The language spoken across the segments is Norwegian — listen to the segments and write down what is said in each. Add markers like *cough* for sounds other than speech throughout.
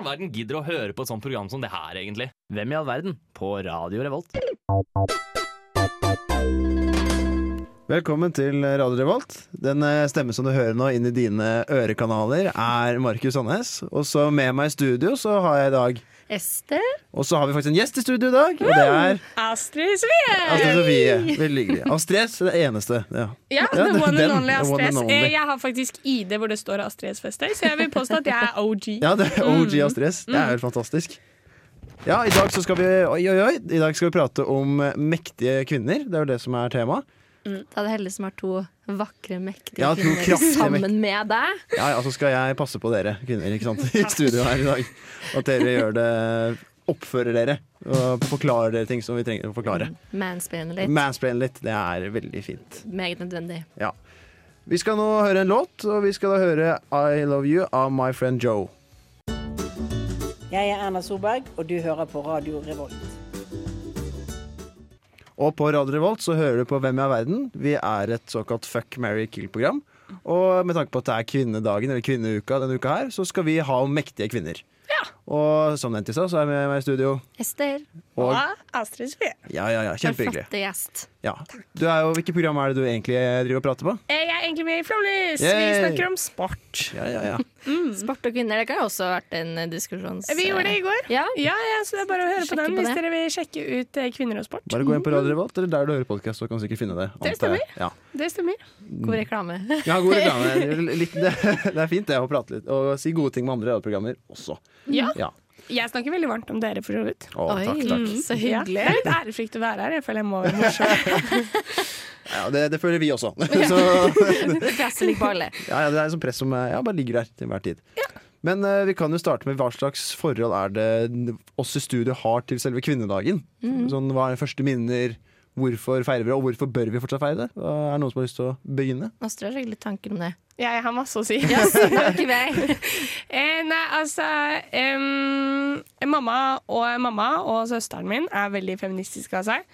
all verden gidder å høre på et sånt program som det her, egentlig? Hvem i all verden? På Radio Revolt. Velkommen til Radio Revolt. Den eh, stemmen som du hører nå inn i dine ørekanaler, er Markus Sandnes. Og så med meg i studio så har jeg i dag Ester. Og så har vi faktisk en gjest i studio i dag, og det er Astrid Sveen! Astrid Sofie. Veldig hyggelig. Astrid er det eneste. Ja. Ja, Ja, the den- one den, and only the one Astrid and S. only. Eh, Jeg har faktisk ID hvor det står Astrid S. Fester, så jeg vil påstå at jeg er OG. Ja, det er OG Mm. Astrid S. Det er helt fantastisk. Ja, i dag så skal vi Oi, oi, oi. I dag skal vi prate om eh, mektige kvinner. Det er jo det som er temaet. Det er det heldig som har to vakre, mektige Ja, to kvinner kraftige, sammen med deg. Ja, ja, så skal jeg passe på dere kvinner ikke sant? i studio her i dag. At dere gjør det Oppfører dere og forklarer dere ting som vi trenger å forklare. Mansplainer litt. Mansplain litt. Det er veldig fint. Meget nødvendig. Ja. Vi skal nå høre en låt, og vi skal da høre I Love You av My Friend Joe. Jeg er Erna Solberg, og du hører på Radio Revolt. Og på Radio Revolt så hører du på Hvem er verden? Vi er et såkalt fuck, marry, kill-program. Og med tanke på at det er kvinnedagen, eller kvinneuka denne uka her, så skal vi ha om mektige kvinner. Og som nevnt i stad, så er jeg med meg i studio. Ester, Og Og Astrid Sveen. ja, ja, ja, en kjempehyggelig. flott gjest. Ja. Du er jo, hvilke program er det du egentlig driver og prater på? Eh, Jeg er egentlig med i Flåmlys. Vi Yay! snakker om sport. Ja, ja, ja. Sport og kvinner, det kan jo også ha vært en eh, diskusjons... Vi gjorde det i går. Ja. Ja, ja, så det er bare å høre på Sjekke på den hvis det. dere vil sjekke ut eh, kvinner og sport. Bare gå inn på Radio Revolt, eller der du hører podkast, så kan du sikkert finne det. Det antar jeg. Ja. Det stemmer. God reklame. Ja, god *laughs* reklame. Litt- Det, det er fint det å prate litt og si gode ting med andre radioprogrammer også. Ja, Ja. jeg snakker veldig varmt om dere, for så vidt. Å, Oi, takk, takk. så Ja, hyggelig. det er litt ærefrykt å være her. Jeg føler jeg må være morsom. Ja, det, det føler vi også. *laughs* Så, *laughs* Det presser litt på alle. ja, ja, det er sånn press som eh, ja, bare ligger der til enhver tid. Men eh, vi kan jo starte med hva slags forhold er det oss i studio har til selve kvinnedagen. Mm. Sånn, hva er første minner? Hvorfor feirer vi det, og hvorfor bør vi fortsatt feire det? Hva- Er det noen som har lyst til å begynne? Astrid har sikkert litt tanker om det. Jeg har masse å si. Ja, *laughs* snakk i vei. Eh, nei, altså em, Mamma og mamma og søsteren min er veldig feministiske av seg.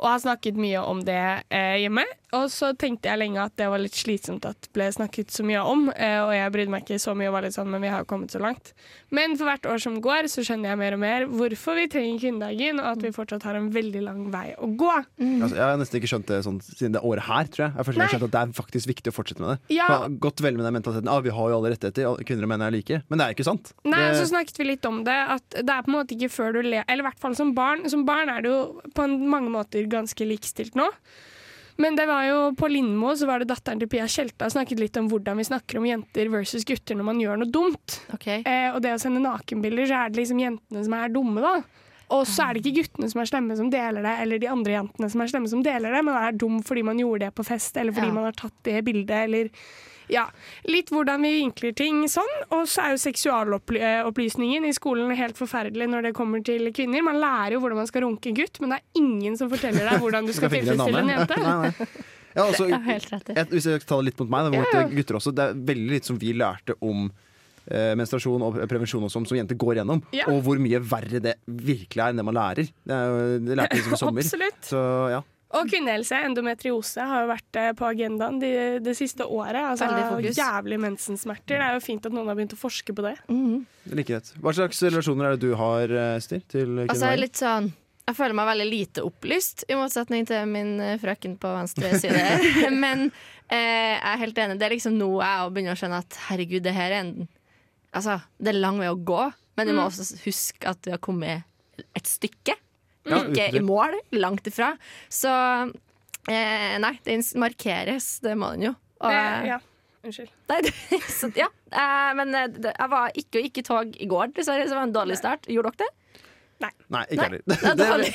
Og har snakket mye om det eh, hjemme. Og så tenkte jeg lenge at det var litt slitsomt at det ble snakket så mye om. Eh, og jeg brydde meg ikke så mye og var litt sånn, men vi har jo kommet så langt. Men for hvert år som går, så skjønner jeg mer og mer hvorfor vi trenger kvinnedagen, og at vi fortsatt har en veldig lang vei å gå. Altså, jeg har nesten ikke skjønt det sånn, siden det året her, tror jeg. Jeg har først Mm. Nei. skjønt at Det er faktisk viktig å fortsette med det. Ja. For jeg har Gått vel med den mentaliteten ah, vi har jo alle rettigheter, alle kvinner og menn er like. Men det er jo ikke sant. Nei, det, så snakket vi litt om det. At det er på en måte ikke før du ler Eller i hvert fall som barn. Som barn er det jo på en- mange måter ganske likestilt nå. Men det var jo på Lindmo så var det datteren til Pia Tjelta snakket litt om hvordan vi snakker om jenter versus gutter når man gjør noe dumt. Ok. Eh, og det å sende nakenbilder, så er det liksom jentene som er dumme, da. Og så er det ikke guttene som er slemme som deler det, eller de andre jentene som er slemme som deler det. Man er dum fordi man gjorde det på fest, eller Ja. fordi man har tatt det bildet, eller ja, litt hvordan vi vinkler ting sånn. Og så er jo seksualopplysningen i skolen helt forferdelig når det kommer til kvinner. Man lærer jo hvordan man skal runke en gutt, men det er ingen som forteller deg *laughs* hvordan du skal skal finne en dame. tilfredsstille en jente. Nei, nei. Ja, altså, *laughs* Ja, helt rett i. jeg, hvis jeg taler litt mot meg, da, mot Ja, ja. gutter også, det er veldig litt som vi lærte om eh, menstruasjon og prevensjon og sånn, som jenter går gjennom. Ja. Og hvor mye verre det virkelig er enn det man lærer. Det, er, jo- det lærte vi som i sommer. *laughs* Absolutt. Så ja. Og kvinnehelse, endometriose, har jo vært eh, på agendaen de, det siste året. Altså, Veldig fokus. jævlig mensensmerter. Det er jo fint at noen har begynt å forske på det. Like greit. Hva slags relasjoner er det du har, eh, Ester? Til Altså, jeg, er kvinnedagen? litt sånn, jeg føler meg veldig lite opplyst, i motsetning til min eh, frøken på venstre side. Men eh, jeg er helt enig. Det er liksom nå jeg også begynner å skjønne at herregud, det her er en Altså, det er lang vei å gå, men vi må også huske at vi har kommet et stykke. Ja, Ikke uten tvil. i mål, langt ifra. Så eh, nei, den markeres, det må den jo. Og, Eh, ja. Unnskyld. *laughs* Nei, det, så, ja. Eh, men eh, det, jeg var ikke, gikk i tog i går, dessverre, så det var en dårlig start. Gjorde dere det? Nei, ikke heller. Nei, *laughs* Det er- dårlig.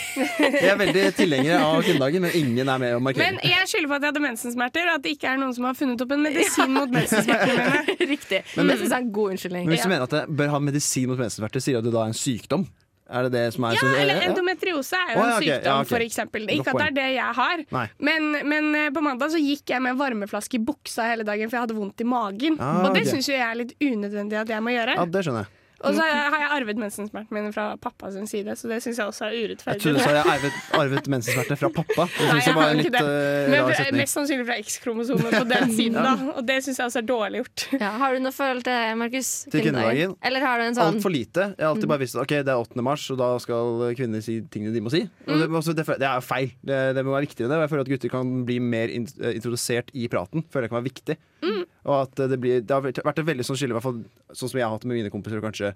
Jeg er veldig tilhenger av kvinnedagen, men ingen er med å markere. Men jeg skylder på at jeg hadde mensensmerter, og at det ikke er noen som har funnet opp en medisin mot mensensmertene mine. *laughs* Riktig. det synes jeg er en god unnskyldning. Men hvis du mener at det bør ha medisin mot mensensmerter, sier du at det da er en sykdom? Er det det som er *laughs* Ja, så- eller ja. endometriose er jo Å, ja, en ok, ja, sykdom, ok. for eksempel. Godt Ikke at det er det jeg har. Nei. Men, men eh, på mandag så gikk jeg med varmeflaske i buksa hele dagen, for jeg hadde vondt i magen. Ah, og det ok. syns jo jeg er litt unødvendig at jeg må gjøre. ja, det skjønner jeg. Og så har jeg arvet mensensmertene mine fra pappa sin side, så det syns jeg også er Jeg urettferdig. trodde du sa jeg arvet, arvet mensensmerter fra pappa. Det Nei, synes jeg jeg var har en ikke litt det. eh, Men rar fra- setning. mest sannsynlig fra X-kromosomet på *laughs* den siden, da. Og det syns jeg også er dårlig gjort. *laughs* Ja, har du noe forhold til det, Markus? Til kvinnedagen? Eller har du en sånn Altfor lite. Jeg har Mm. alltid bare visst at ok, det er 8. mars, og da skal kvinner si tingene de må si. Og Mm. det, også, det, det er jo feil. Det, det må være viktigere enn det. Og jeg føler at gutter kan bli mer in eh, introdusert i praten. Føler jeg kan være viktig. Mm. Og at eh, det, blir, det har vært vært et veldig sånn skille, i hvert fall sånn som jeg har hatt med mine kompiser og kanskje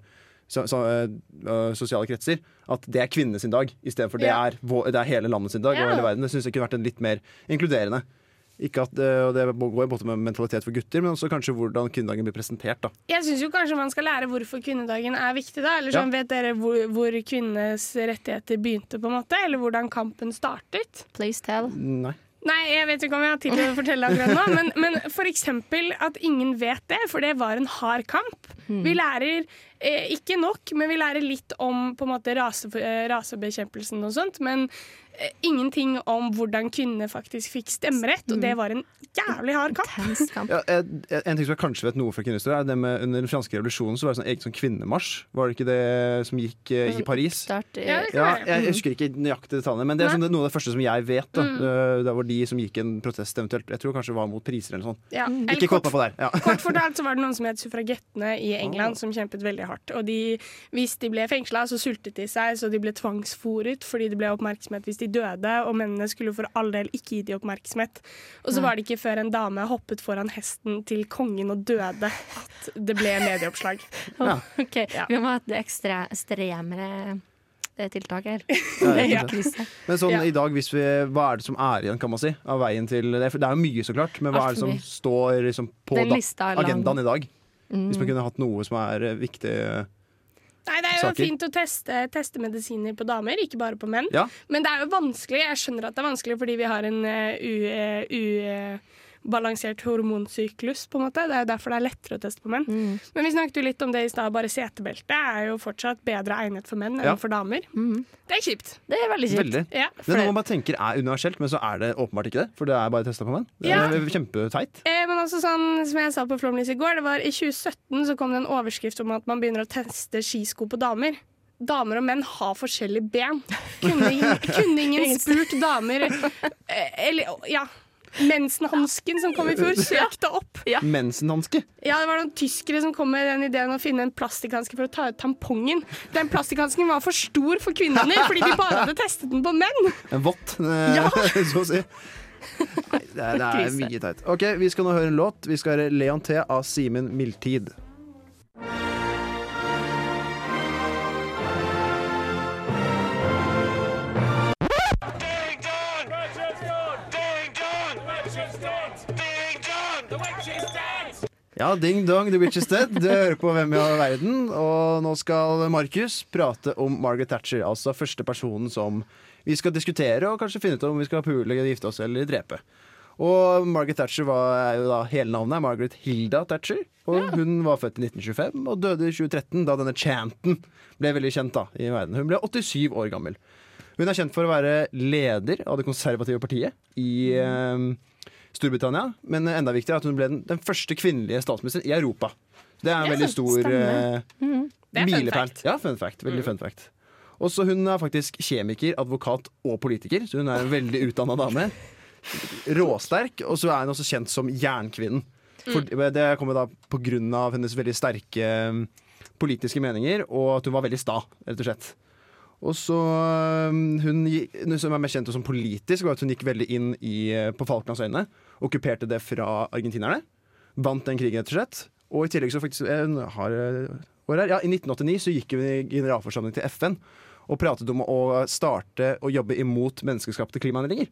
så, så, øh, øh, sosiale kretser, at det er kvinnene sin dag istedenfor det, Ja. er vår- det er hele landet sin dag. Og Ja. hele verden. Det syns jeg kunne vært en litt mer inkluderende. Ikke at, øh, og Det går både med mentalitet for gutter, men også kanskje hvordan kvinnedagen blir presentert. da Jeg syns jo kanskje man skal lære hvorfor kvinnedagen er viktig, da. Eller sånn, vet dere hvor, hvor kvinnenes rettigheter begynte, på en måte? Eller hvordan kampen startet? Please tell. *laughs* Nei Nei, jeg vet ikke om jeg har tid til å fortelle det akkurat nå, men, men for eksempel at ingen vet det, for det var en hard kamp. Vi lærer eh, ikke nok, men vi lærer litt om på en måte rase, eh, rasebekjempelsen og sånt, men eh, ingenting om hvordan kvinner faktisk fikk stemmerett, og det var en jævlig hard kamp. Intenst kamp. Ja, eh, en ting som jeg kanskje vet noe fra kvinnehistorie, er det med under den franske revolusjonen så var det sånn egen sånn kvinnemarsj. Var det ikke det som gikk eh, i Paris? Start i *laughs* Ja, det Ja, kan være. jeg husker ikke nøyaktig detaljene, men det er sånn, noe av det første som jeg vet. Da. Eh, Det var de som gikk en protest eventuelt. Jeg tror kanskje det var mot priser eller noe sånt. Ja. Eller Ikke kort- kåt meg på der. Ja. Kort fortalt så var det noen som het suffragettene i England, som kjempet veldig hardt. Og de, hvis de ble fengsla, så sultet de seg, så de ble tvangsfòret fordi det ble oppmerksomhet hvis de døde, og mennene skulle for all del ikke gi de oppmerksomhet. Og så var det ikke før en dame hoppet foran hesten til kongen og døde, at det ble medieoppslag. Ok, Vi må ha et ekstra stremere eh, tiltak her. Ja. Krise. Men sånn Ja. i dag, hvis vi, hva er det som er igjen, kan man si? Av veien til Det er det er jo mye, så klart, men hva Alt er det som mye. står liksom, på Den da, lista er lang. agendaen i dag? Hvis man kunne hatt noe som er eh, viktig eh, Nei, det er jo Saker. fint å teste, teste medisiner på damer, ikke bare på menn. Ja. Men det er jo vanskelig. Jeg skjønner at det er vanskelig fordi vi har en eh, u... eh, u- eh, Balansert hormonsyklus, på en måte. Det er jo derfor det er lettere å teste på menn. Mm. Men vi snakket jo litt om det i stad. Bare setebelte er jo fortsatt bedre egnet for menn enn Ja. Mm. for damer. Det er kjipt. *laughs* Det er veldig kjipt. Veldig. Ja. Det er noe man tenker er universelt, men så er det åpenbart ikke det. For det er bare testa på menn. Det Ja. er Kjempeteit. Eh, men også sånn, som jeg sa på Flåmlys i går, det var i 2017 så kom det en overskrift om at man begynner å teste skisko på damer. Damer og menn har forskjellige ben. Kunne, *laughs* ingen- kunne ingen spurt damer eh, Eller, ja. Mensenhansken som kom i fjor, søkte opp. Ja. Mensenhanske. Ja, det var noen tyskere som kom med den ideen å finne en plastikkhanske for å ta ut tampongen. Den plastikkhansken var for stor for kvinnene, fordi de bare hadde testet den på menn. En vått, eh, Ja. *laughs* så å si. Nei, det er, det er Krise. mye teit. Ok, Vi skal nå høre en låt. Vi skal høre Leon T av Simen Mildtid. Ding dong! Ding dong! Ding dong! The witch is dead! Ja, ding dong, the witch is dead. Du hører på Hvem i all verden. Og nå skal Markus prate om Margaret Thatcher, altså første personen som vi skal diskutere og kanskje finne ut om vi skal pule, gifte oss eller drepe. Og Margaret Thatcher var er jo da hele navnet er Margaret Hilda Thatcher. Og hun var født i 1925 og døde i 2013, da denne chanten ble veldig kjent da i verden. Hun ble 87 år gammel. Hun er kjent for å være leder av det konservative partiet i eh, Storbritannia, men enda viktigere er at hun ble den, den første kvinnelige statsministeren i Europa. Det er en Ja, veldig stor stemmer. eh, Det er fun milepæl. fact. Mm. Ja, fun fact. Veldig fun fact. Også hun er faktisk kjemiker, advokat og politiker, så hun er en veldig utdanna dame. Råsterk, og så er hun også kjent som Jernkvinnen. Mm. For, Det kommer da på grunn av hennes veldig sterke eh, politiske meninger, og at hun var veldig sta, rett og slett. Og så øhm, hun, gi- hun som er mest kjent som politisk, var at hun gikk veldig inn i, eh, på Falklandsøyene. Okkuperte det fra argentinerne. Vant den krigen, rett og slett. Og i tillegg så faktisk eh, hun har, eh, år her, ja, I 1989 så gikk hun i generalforsamling til FN og pratet om å starte å jobbe imot menneskeskapte klimaendringer.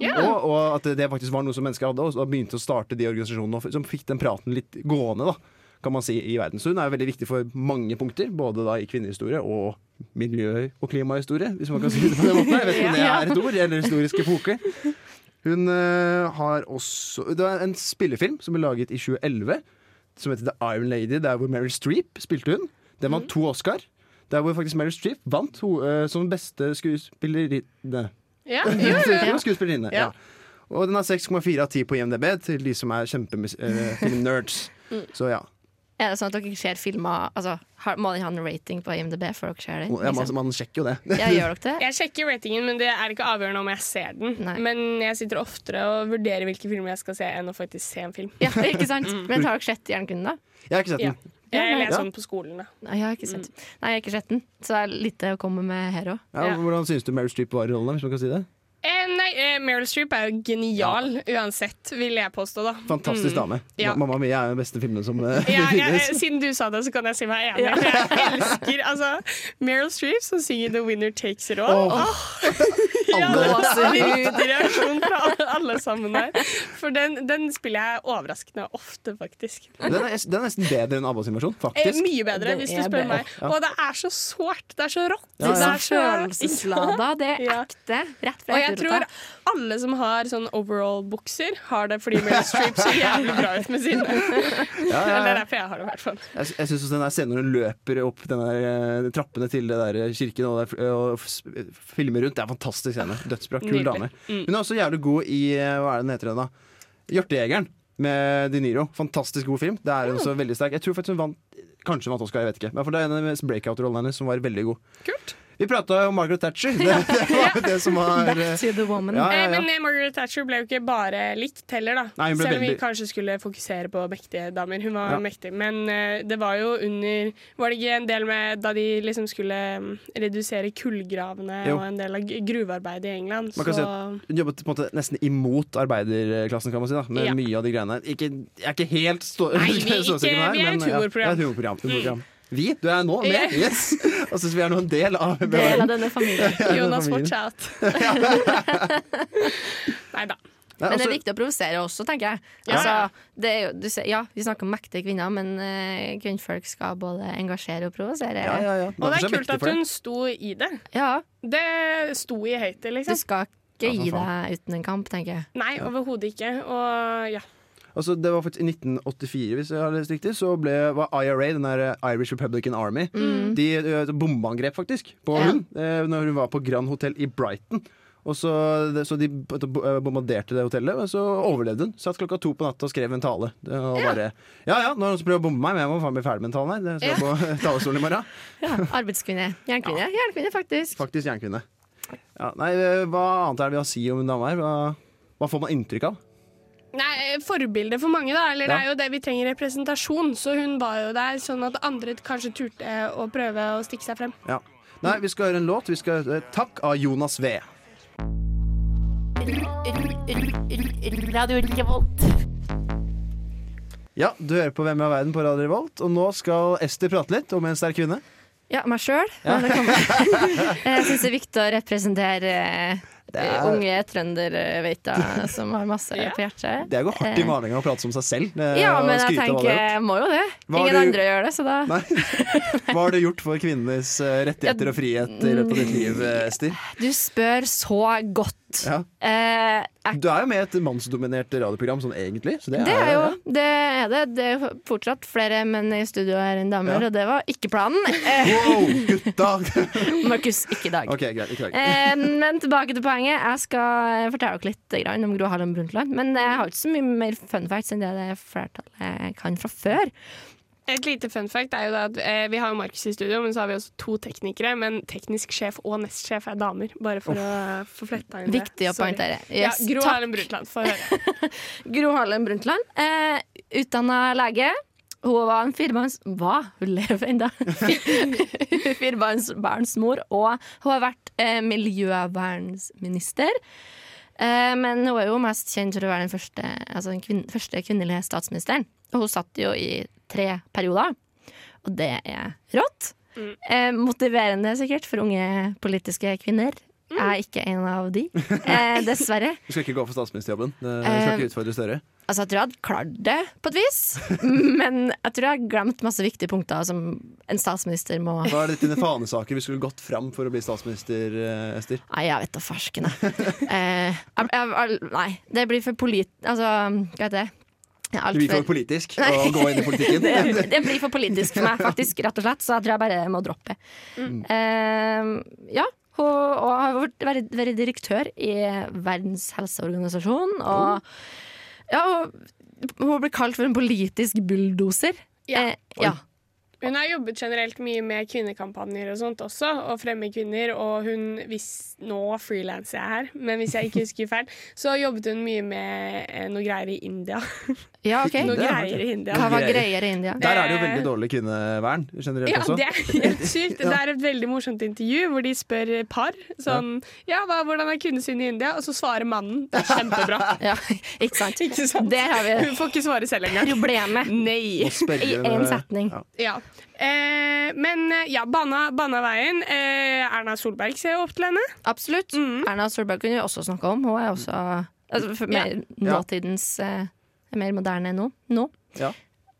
Og, og at det faktisk var noe som mennesker hadde, og så begynte å starte de organisasjonene og f- som fikk den praten litt gående. da, kan man si, i verden. Så hun er jo veldig viktig for mange punkter, både da i kvinnehistorie og miljø- og klimahistorie, hvis man kan si det på den måten. Jeg vet ikke om det er et ord, eller historisk epoke. Hun øh, har også Det er en spillefilm som ble laget i 2011, som heter The Iron Lady. Der hvor Meryl Streep spilte hun. Den Mhm. vant to Oscar. Der hvor faktisk Meryl Streep vant ho, øh, som beste skuespillerinne. Ja, Hun var skuespillerinne, ja. *laughs* Mm. Og den har 6,4 av 10 på IMDb til de som er kjempefilmnerds. eh, Så ja. Er det sånn at dere ser filmer altså, har, Må den ha en rating på IMDb før dere ser den? Ja, man, man sjekker jo det. *laughs* *laughs* Ja, gjør dere det? Jeg sjekker ratingen, men det er ikke avgjørende om jeg ser den. Nei. Men jeg sitter oftere og vurderer hvilke filmer jeg skal se, enn å faktisk se en film. Ja, ikke sant? Men har dere sett Jernkunden, da? Jeg har ikke sett Ja. den. Jeg leser Mm. Ja. den på skolen, da. Nei, jeg har ikke sett Nei, jeg har ikke sett den. Så det er litt å komme med her *laughs* òg. Ja, Ja. Hvordan syns du Meryl Streep var i rollen? hvis man kan si det? Eh, nei, eh, Meryl Streep er jo genial uansett, vil jeg *laughs* påstå, da. Fantastisk dame. Mm. Ja. Ma- Mamma Mia er jo den beste filmen som eh, *laughs* Ja, ja, eh, finnes. siden du sa det, så kan jeg si meg enig. Jeg elsker altså, Meryl Streep som synger 'The Winner Takes It All'. Ah! Åh. Åh, *laughs* Alle. Absolutt reaksjon fra alle- alle sammen her. For den, den spiller jeg overraskende ofte, faktisk. *laughs* Den er, den er nesten bedre enn Abba sin versjon, Eh, faktisk. mye bedre, Den hvis du er spør bedre. meg. Og det er så sårt. Det er så rått. Ja, Det er så Følelseslada. Det er Ja. ekte. Rett fra Og jeg tror hjerterota. alle som har sånn overall-bukser, har det fordi Meryl Streep ser jævlig bra ut med *laughs* sine. ja. Eller derfor jeg har det, i hvert fall. Jeg, jeg synes også den der scenen når hun løper opp den der, eh, trappene til det der eh, kirken og, der, og s- filmer rundt, det er en fantastisk scene. Dødsbra. Kul Nydelig. Mm. dame. Hun er også jævlig god i eh, Hva er det den heter, den da? Hjortejegeren med De Niro. Fantastisk god film. Det er Mm. hun også veldig sterk. Jeg tror faktisk hun vant Kanskje hun vant Oscar, jeg vet ikke. Men for det er en av breakout-rollene hennes som var veldig god. Kult. Vi prata om Margaret *laughs* Thatcher. Det, *laughs* det var jo det som var eh, Back to the woman. ja, Eh, ja, Men ja. eh, Margaret Thatcher ble jo ikke bare likt heller, da. Nei, hun ble Selv om vi veldig- kanskje skulle fokusere på mektige damer. Hun var Ja. mektig, men eh, det var jo under Var det ikke en del med da de liksom skulle mm, redusere kullgravene Jo. og en del av gru- gruvearbeidet i England, Man kan si så at hun jobbet på en måte nesten imot arbeiderklassen, kan man si. da Med Ja. mye av de greiene. Ikke, jeg er ikke helt stå *laughs* Nei, vi er ikke- ståsikker med vi er men, et ja, humorprogram. Mm. det er et humorprogram. et humorprogram. Vi? Du er nå med? Ja. Yes! *laughs* Og så vi er nå en del av Del av denne familien. Jonas, familien. watch *laughs* *laughs* out. Nei da. Nei, Men det altså, er viktig å provosere også, tenker jeg. Ja. Altså, det er jo, du ser, ja, vi snakker om mektige kvinner, men eh, kvinnfolk skal både engasjere og provosere. ja, ja, ja. Og det Derfor er så kult viktig at for det. hun sto i det. Ja, Det sto i høyt, Du liksom. skal ikke Ja, for gi deg uten en kamp, tenker jeg. Nei, overhodet ikke. Og ja. Altså, det var faktisk I 1984, hvis jeg har lest riktig, så ble, var IRA, den der eh, Irish Republican Army, de eh, bombeangrep faktisk på Ja. hun eh, når hun var på Grand Hotel i Brighton. Og så, det, så de b- b- eh, bombarderte det hotellet, og så overlevde hun. Satt klokka to på natta og skrev en tale. Det- Og bare Ja ja, nå har noen som prøver å bombe meg, men jeg må faen bli ferdig med den talen her. Det skal på talerstolen i morgen. Arbeidskvinne. Jernkvinne. Jernkvinne, faktisk. Faktisk jernkvinne. Ja, nei, eh, hva annet er det vi har å si om en dame her? Hva, hva får man inntrykk av? Nei, eh, forbilde for mange, da. Ja. Eller det er jo det vi trenger representasjon. Så hun var jo der sånn at andre kanskje turte å prøve å stikke seg frem. Ja. Nei, vi skal høre en låt. Vi skal høre eh, 'Takk' av Jonas V. Radio Revolt. Ja, du hører på Hvem er verden på Radio Revolt, og nå skal Ester prate litt om en sterk kvinne. Ja, meg sjøl. jeg *laughs* syns det er viktig å representere eh, er- unge trønderveiter som har masse på hjertet. Det går hardt i malinga å prate som seg selv. eh, Eh. Ja, og men jeg skryte av hva tenker de har gjort. jeg må jo det. Hva har Ingen du- andre gjør det, så da *laughs* Hva har du gjort for kvinnenes eh, rettigheter og frihet i løpet av ditt mm. liv, eh, Ester? Du spør så godt. Ja. Eh, jeg, Du er jo med i et mannsdominert radioprogram sånn egentlig. Så det, det er jo ja. det. Er det. det er jo fortsatt flere menn i studio her enn damer, Ja. og det var ikke planen. Eh, Wow, gutta! *laughs* Markus, ikke i dag. OK, greit. Ikke verre. Eh, men tilbake til poenget. Jeg skal fortelle dere litt grann om Gro Harlem Brundtland. Men jeg har ikke så mye mer fun facts enn det det flertallet kan fra før. Et lite fun fact er jo da at eh, vi har jo Markus i studio, men så har vi også to teknikere. Men teknisk sjef og nestsjef er damer, bare for å få fletta inn det. Viktig å Sorry. poengtere. Yes, ja, Gro takk. Harlem Brundtland, få høre. Gro Harlem Brundtland, eh, utdanna lege. Hun var en firmanns... Hva? Hun lever *laughs* ennå! Firmannsbarnsmor. Og hun har vært eh, miljøvernsminister. Eh, men hun er jo mest kjent for å være den første, altså den kvinn, første kvinnelige statsministeren. Og hun satt jo i tre perioder, og det er rått. Eh, motiverende sikkert for unge politiske kvinner. Jeg er ikke en av de, eh, dessverre. Du skal ikke gå for statsministerjobben. Det- Du skal Eh, ikke utfordre Støre. Altså, jeg tror jeg hadde klart det på et vis, *laughs* men jeg tror jeg har glemt masse viktige punkter som en statsminister må Hva er det dine fanesaker vi skulle gått fram for å bli statsminister, eh, Ester? Nei, jeg vet da farsken, jeg. Eh, jeg- jeg- jeg- Nei, det blir for polit... Altså, hva heter det? Jeg er alt Du blir for- *laughs* for politisk og gå inn i politikken. *laughs* det, det blir for politisk for meg, faktisk, rett og slett, så jeg tror jeg bare må droppe. Eh, ja. Hun og har vært- vært, vært direktør i Verdens helseorganisasjon. Og, ja, og hun blir kalt for en politisk bulldoser. Ja. Eh, ja. Hun har jobbet generelt mye med kvinnekampanjer og sånt også, og fremme kvinner. Og hun, hvis nå frilanser jeg her, men hvis jeg ikke husker feil, så jobbet hun mye med eh, noe greier i India. ja, Noe OK. er greier i India. Hva var Greier. greier i India? Der er det jo veldig dårlig kvinnevern generelt Ja, også. det er helt sykt. Det er et veldig morsomt intervju hvor de spør par sånn Ja, hva, hvordan er kvinnesynet i India? Og så svarer mannen. Det er kjempebra. *laughs* Ja, ikke sant? Ikke sant? Der har vi Hun får ikke svare selv engang. problemet. *laughs* Nei. Å spørre- *laughs* eh, I en setning. Ja. Ja. Eh, men eh, ja, banna, banna veien. Eh, Erna Solberg ser jo opp til henne. Absolutt. Erna Solberg kunne vi også snakka om. Hun er også Mm. altså, for mer nåtidens eh, er Mer moderne enn nå. nå. Ja.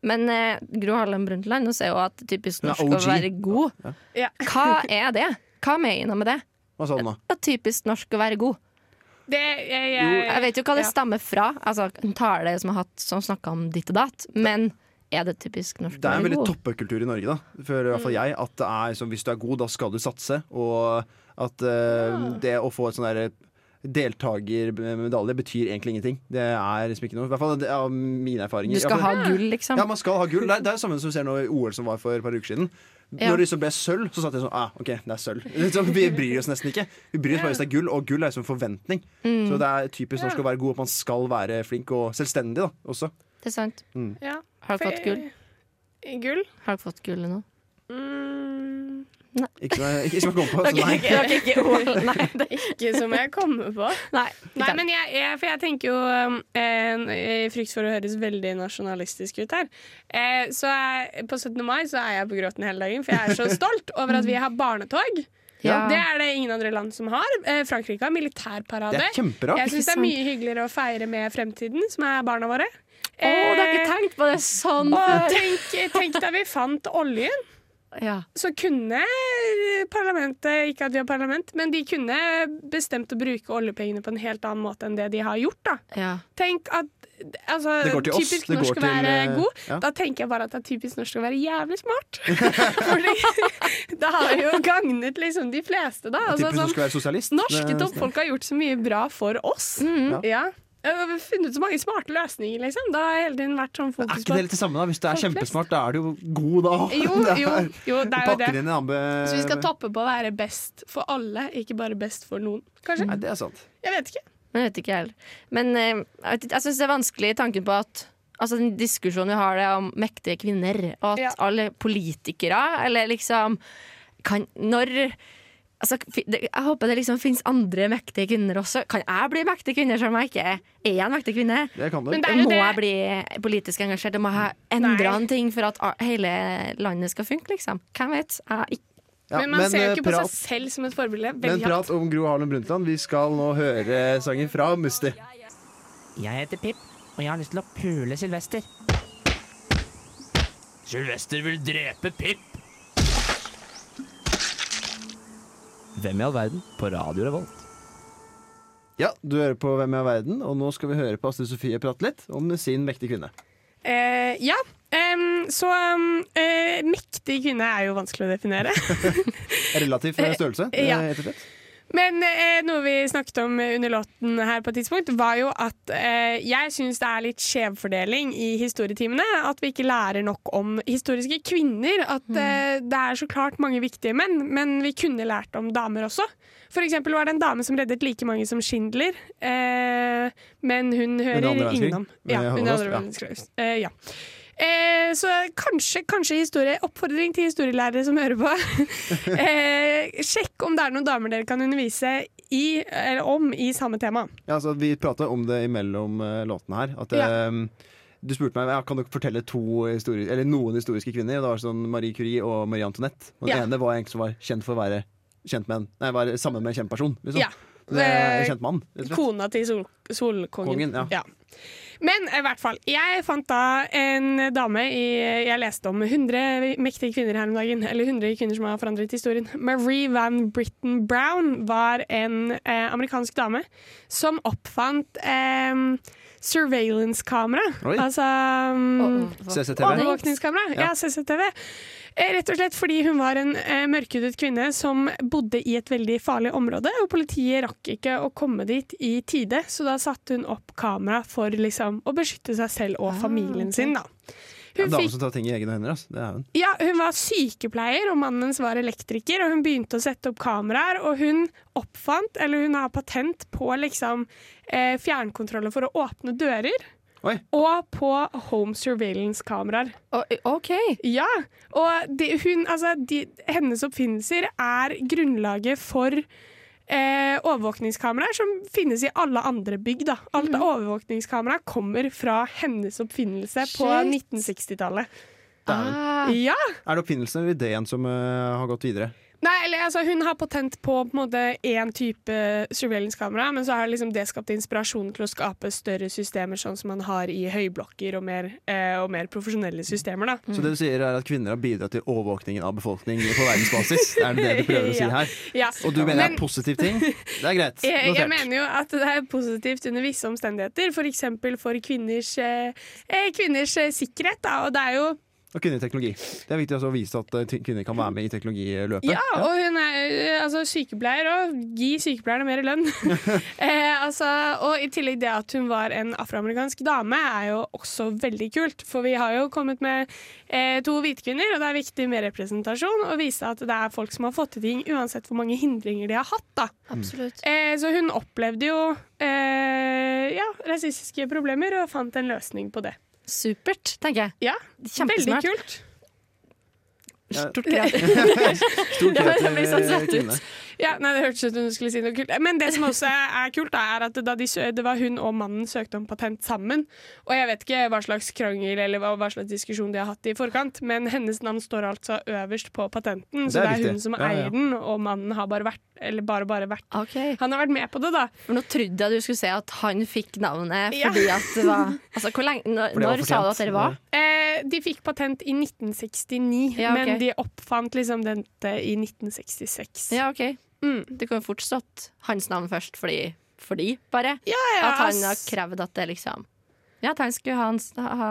Men eh, Gro Harlem Brundtland Nå ser jo at det er typisk Hun er norsk OG. å være god. Ja. Hva er det? Hva mener hun med det? Hva sa hun da? At typisk norsk å være god. Det, jeg, jeg, Jeg vet jo hva det ja. stammer fra. Altså En tale som har hatt Som snakka om ditt og datt. Men er det typisk norsk Det er å en være veldig god? toppekultur i Norge, da. For i hvert fall Mm. jeg. At det er som hvis du er god, da skal du satse. Og at eh, det å få et sånn derre deltakermedalje betyr egentlig ingenting. Det er liksom ikke noe. I hvert fall det er mine erfaringer. Altså, Du skal Ja, ha for- gull, liksom. Ja, man skal ha gull. Det er det er det samme som vi ser nå i OL som var for et par uker siden. Ja. Når det liksom ble sølv, så satt jeg sånn ah, OK, det er sølv. *laughs* Liksom, vi bryr oss nesten ikke. Vi bryr oss bare hvis det er gull, og gull er liksom forventning. Mm. Så det er typisk norsk å være god, at man skal være flink og selvstendig da, også. Det er sant. Ja. Har du fått gull? Gull? Har du fått gullet nå? Mm, Ikke som jeg, ikke som jeg kom *laughs* på. Så nei. Det var ikke OL, *laughs* nei. det- ikke som jeg kommer på. Nei, Nei, men jeg, jeg, for jeg tenker jo um, eh, I frykt for å høres veldig nasjonalistisk ut her. Eh, så jeg, på 17. mai så er jeg på gråten hele dagen, for *laughs* jeg er så stolt over at vi har barnetog. Ja. Det er det ingen andre land som har. Eh, Frankrike har militærparade. Det er kjemperart. Jeg syns det er mye hyggeligere å feire med fremtiden, som er barna våre. Å, Eh, det har jeg ikke tenkt på det sånn. og tenk, tenk da vi fant oljen. Ja. Så kunne parlamentet, ikke at vi har parlament, men de kunne bestemt å bruke oljepengene på en helt annen måte enn det de har gjort. da. Ja. Tenk at altså, Det går til oss. Typisk Det går norsk å til, være eh, god. ja. Da tenker jeg bare at det er typisk norsk å være jævlig *laughs* smart. Fordi det *laughs* har jo gagnet liksom de fleste, da. Altså, Typisk du sånn, skal være sosialist. norske Det- Mm-hmm. toppfolk har gjort så mye bra for oss. Ja. Ja. Og funnet så mange smarte løsninger, liksom. Da har jeg hele tiden vært sånn Er fokus ikke på det litt det samme, da? Hvis du er Folk flest. kjempesmart, da er du jo god, da. Jo, *laughs* Det er- jo, jo, det er jo Pakker det. inn en ambe... Så vi Eh, skal toppe på å være best for alle, ikke bare best for noen. Kanskje? Nei, det er sant. Jeg vet ikke. Men jeg vet ikke heller. Men eh, jeg, vet ikke, jeg syns det er vanskelig tanken på at Altså den diskusjonen vi har det om mektige kvinner, og at Ja. alle politikere, eller liksom kan, Når Altså, fi- det, jeg håper det liksom finnes andre mektige kvinner også. Kan jeg bli mektig kvinne selv om jeg ikke er en mektig kvinne? Det kan du. Men det er jo Må det- jeg bli politisk engasjert? Jeg må jeg endre Nei. en ting for at a- hele landet skal funke, liksom? Hvem vet? Jeg, ikke- Ja, men man ser jo eh, ikke på prat, seg selv som et forbilde. men Veldig hardt. prat om Gro Harlem Brundtland. Vi skal nå høre sangen fra Musti. Jeg heter Pip, og jeg har lyst til å pule Sylvester. Sylvester vil drepe Pip. Hvem i all verden på Radio Revolt? Ja, du hører på Hvem er verden, og nå skal vi høre på Astrid Sofie prate litt om sin mektige kvinne. Eh, ja. Em, så em, eh, mektig kvinne er jo vanskelig å definere. *laughs* Relativ eh, størrelse, eh, ja. rett og slett. Men eh, noe vi snakket om under låten her på et tidspunkt, var jo at eh, jeg syns det er litt skjevfordeling i historietimene. At vi ikke lærer nok om historiske kvinner. At eh, det er så klart mange viktige menn, men vi kunne lært om damer også. For eksempel var det en dame som reddet like mange som Schindler, eh, men hun hører Under andre verdenskrig? innom. Ja, Under under andre Holocaust, verdenskrig. Eh, ja. Eh, så kanskje, kanskje historie, oppfordring til historielærere som hører på. eh, sjekk om det er noen damer dere kan undervise i, eller om i samme tema. Ja, altså, vi prata om det imellom eh, låtene her. At, Ja. eh, du spurte meg ja, kan dere fortelle to histori eller noen historiske kvinner. Og det var sånn Marie Curie og Marie Antoinette. Og den Ja. ene var en som var kjent for å være kjent med en Nei, var sammen med en kjent person. Liksom. Ja. Eh, Det er en kjent mann. rett og slett. Kona til sol, solkongen. Kongen, ja. Men i hvert fall, jeg fant da en dame i Jeg leste om 100 mektige kvinner her om dagen. Eller 100 kvinner som har forandret historien. Marie Van Britten Brown var en eh, amerikansk dame som oppfant eh, surveillance-kamera. Oi. Altså Å, um, hva- CCTV. Overvåkningskamera. Ja. Ja. CCTV. Eh, Rett og slett fordi hun var en eh, mørkhudet kvinne som bodde i et veldig farlig område, og politiet rakk ikke å komme dit i tide, så da satte hun opp kamera for liksom, å beskytte seg selv og familien sin. Da. Hun Dame fikk som tar ting i egne hender, ass. Det er hun. Ja, hun var sykepleier, og mannen hennes var elektriker. Og hun begynte å sette opp kameraer, og hun oppfant, eller hun har patent på liksom eh, fjernkontroller for å åpne dører. Oi. Og på home surveillance-kameraer. Å, OK. Ja, og det, hun, altså, de, hennes oppfinnelser er grunnlaget for eh, overvåkningskameraer som finnes i alle andre bygg. Da. Alt Mhm. av overvåkningskamera kommer fra hennes oppfinnelse på Shit. 1960-tallet. Ah. Ja! Er det oppfinnelsen eller ideen som eh, har gått videre? Nei, eller altså, Hun har patent på på en måte én type surveillance-kamera, men så har liksom det skapt inspirasjon til å skape større systemer, sånn som man har i høyblokker og mer, eh, og mer profesjonelle systemer. da. Mm. Så det du sier er at kvinner har bidratt til overvåkningen av befolkning på verdensbasis? Det er det du prøver å si *laughs* Ja. her? Ja. Og du mener det er Men- en positiv ting? Det er greit. *laughs* Jeg, jeg Notert. mener jo at det er positivt under visse omstendigheter, f.eks. for kvinners, eh, eh, kvinners eh, sikkerhet. Da. Og det er jo Og kvinner i teknologi. Det er viktig også å vise at eh, ty- kvinner kan være med i teknologiløpet. *laughs* Ja, og hun er eh, altså, sykepleier, og gi sykepleierne mer lønn. *laughs* eh, altså, og i tillegg det at hun var en afroamerikansk dame, er jo også veldig kult. For vi har jo kommet med eh, to hvite kvinner, og det er viktig med representasjon. Og vise at det er folk som har fått til ting, uansett hvor mange hindringer de har hatt. da. Absolutt. Eh, så hun opplevde jo eh, ja, rasistiske problemer, og fant en løsning på det. Supert, tenker jeg. Ja, Kjempesmart. Veldig kult. Stort grep. Stort Ja, grep jeg blir sånn til satt ut. kvinnene. Ja, nei, Det hørtes ut som hun skulle si noe kult. Men *laughs* det som også er kult, da, er at da de, sø- det var hun og mannen søkte om patent sammen. Og jeg vet ikke hva slags krangel eller hva, hva slags diskusjon de har hatt i forkant, men hennes navn står altså øverst på patenten, Det så er det er viktig. hun som Ja, ja. eier den, og mannen har bare vært Eller bare, bare vært OK. Han har vært med på det, da. For nå trodde jeg du skulle si at han fikk navnet Ja. fordi at det var *laughs* Altså, hvor lenge Når, For det var når sa fortjent. du at dere var? Eh, de fikk patent i 1969, Ja, ok. men de oppfant liksom dette i 1966. Ja, OK. Mm. Det kunne fort stått hans navn først fordi, fordi bare. Ja, At han har ass. krevd at det liksom Ja, at han skulle ha, hans- ha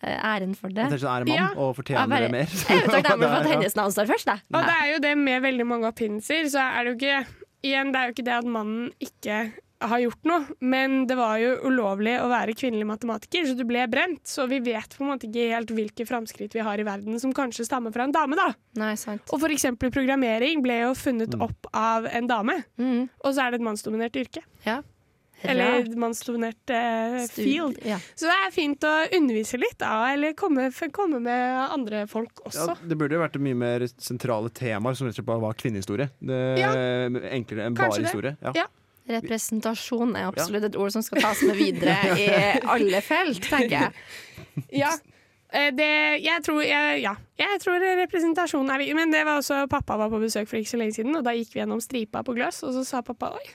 eh, æren for det. Jeg tenker sånn, er det Ja. mann og Jeg fortjener bare- det mer? Jeg er jo takknemlig for *laughs* at Ja. hennes navn står først, Og det da. er jo det med veldig mange oppfinnelser, så er det jo ikke Igjen, det er jo ikke det at mannen ikke har gjort noe, men det var jo ulovlig å være kvinnelig matematiker, så du ble brent. Så vi vet på en måte ikke helt hvilke framskritt vi har i verden som kanskje stammer fra en dame, da. Nei, sant. Og for eksempel programmering ble jo funnet opp av en dame, Mm. og så er det et mannsdominert yrke. Ja. Eller Rart et mannsdominert eh, studie- field. Ja. Så det er fint å undervise litt, da, eller komme, komme med andre folk Ja, også. det burde jo vært mye mer sentrale temaer som rett og slett bare var kvinnehistorie. Det, Ja. Enklere enn Kanskje bare det. historie. Ja. Ja. Representasjon er absolutt et ord som skal tas med videre i *laughs* alle felt, tenker jeg. Ja. Eh, Det, jeg, tror, jeg, ja. jeg tror representasjon er viktig. Men det var også pappa var på besøk for ikke så lenge siden, og da gikk vi gjennom stripa på Gløs, og så sa pappa oi,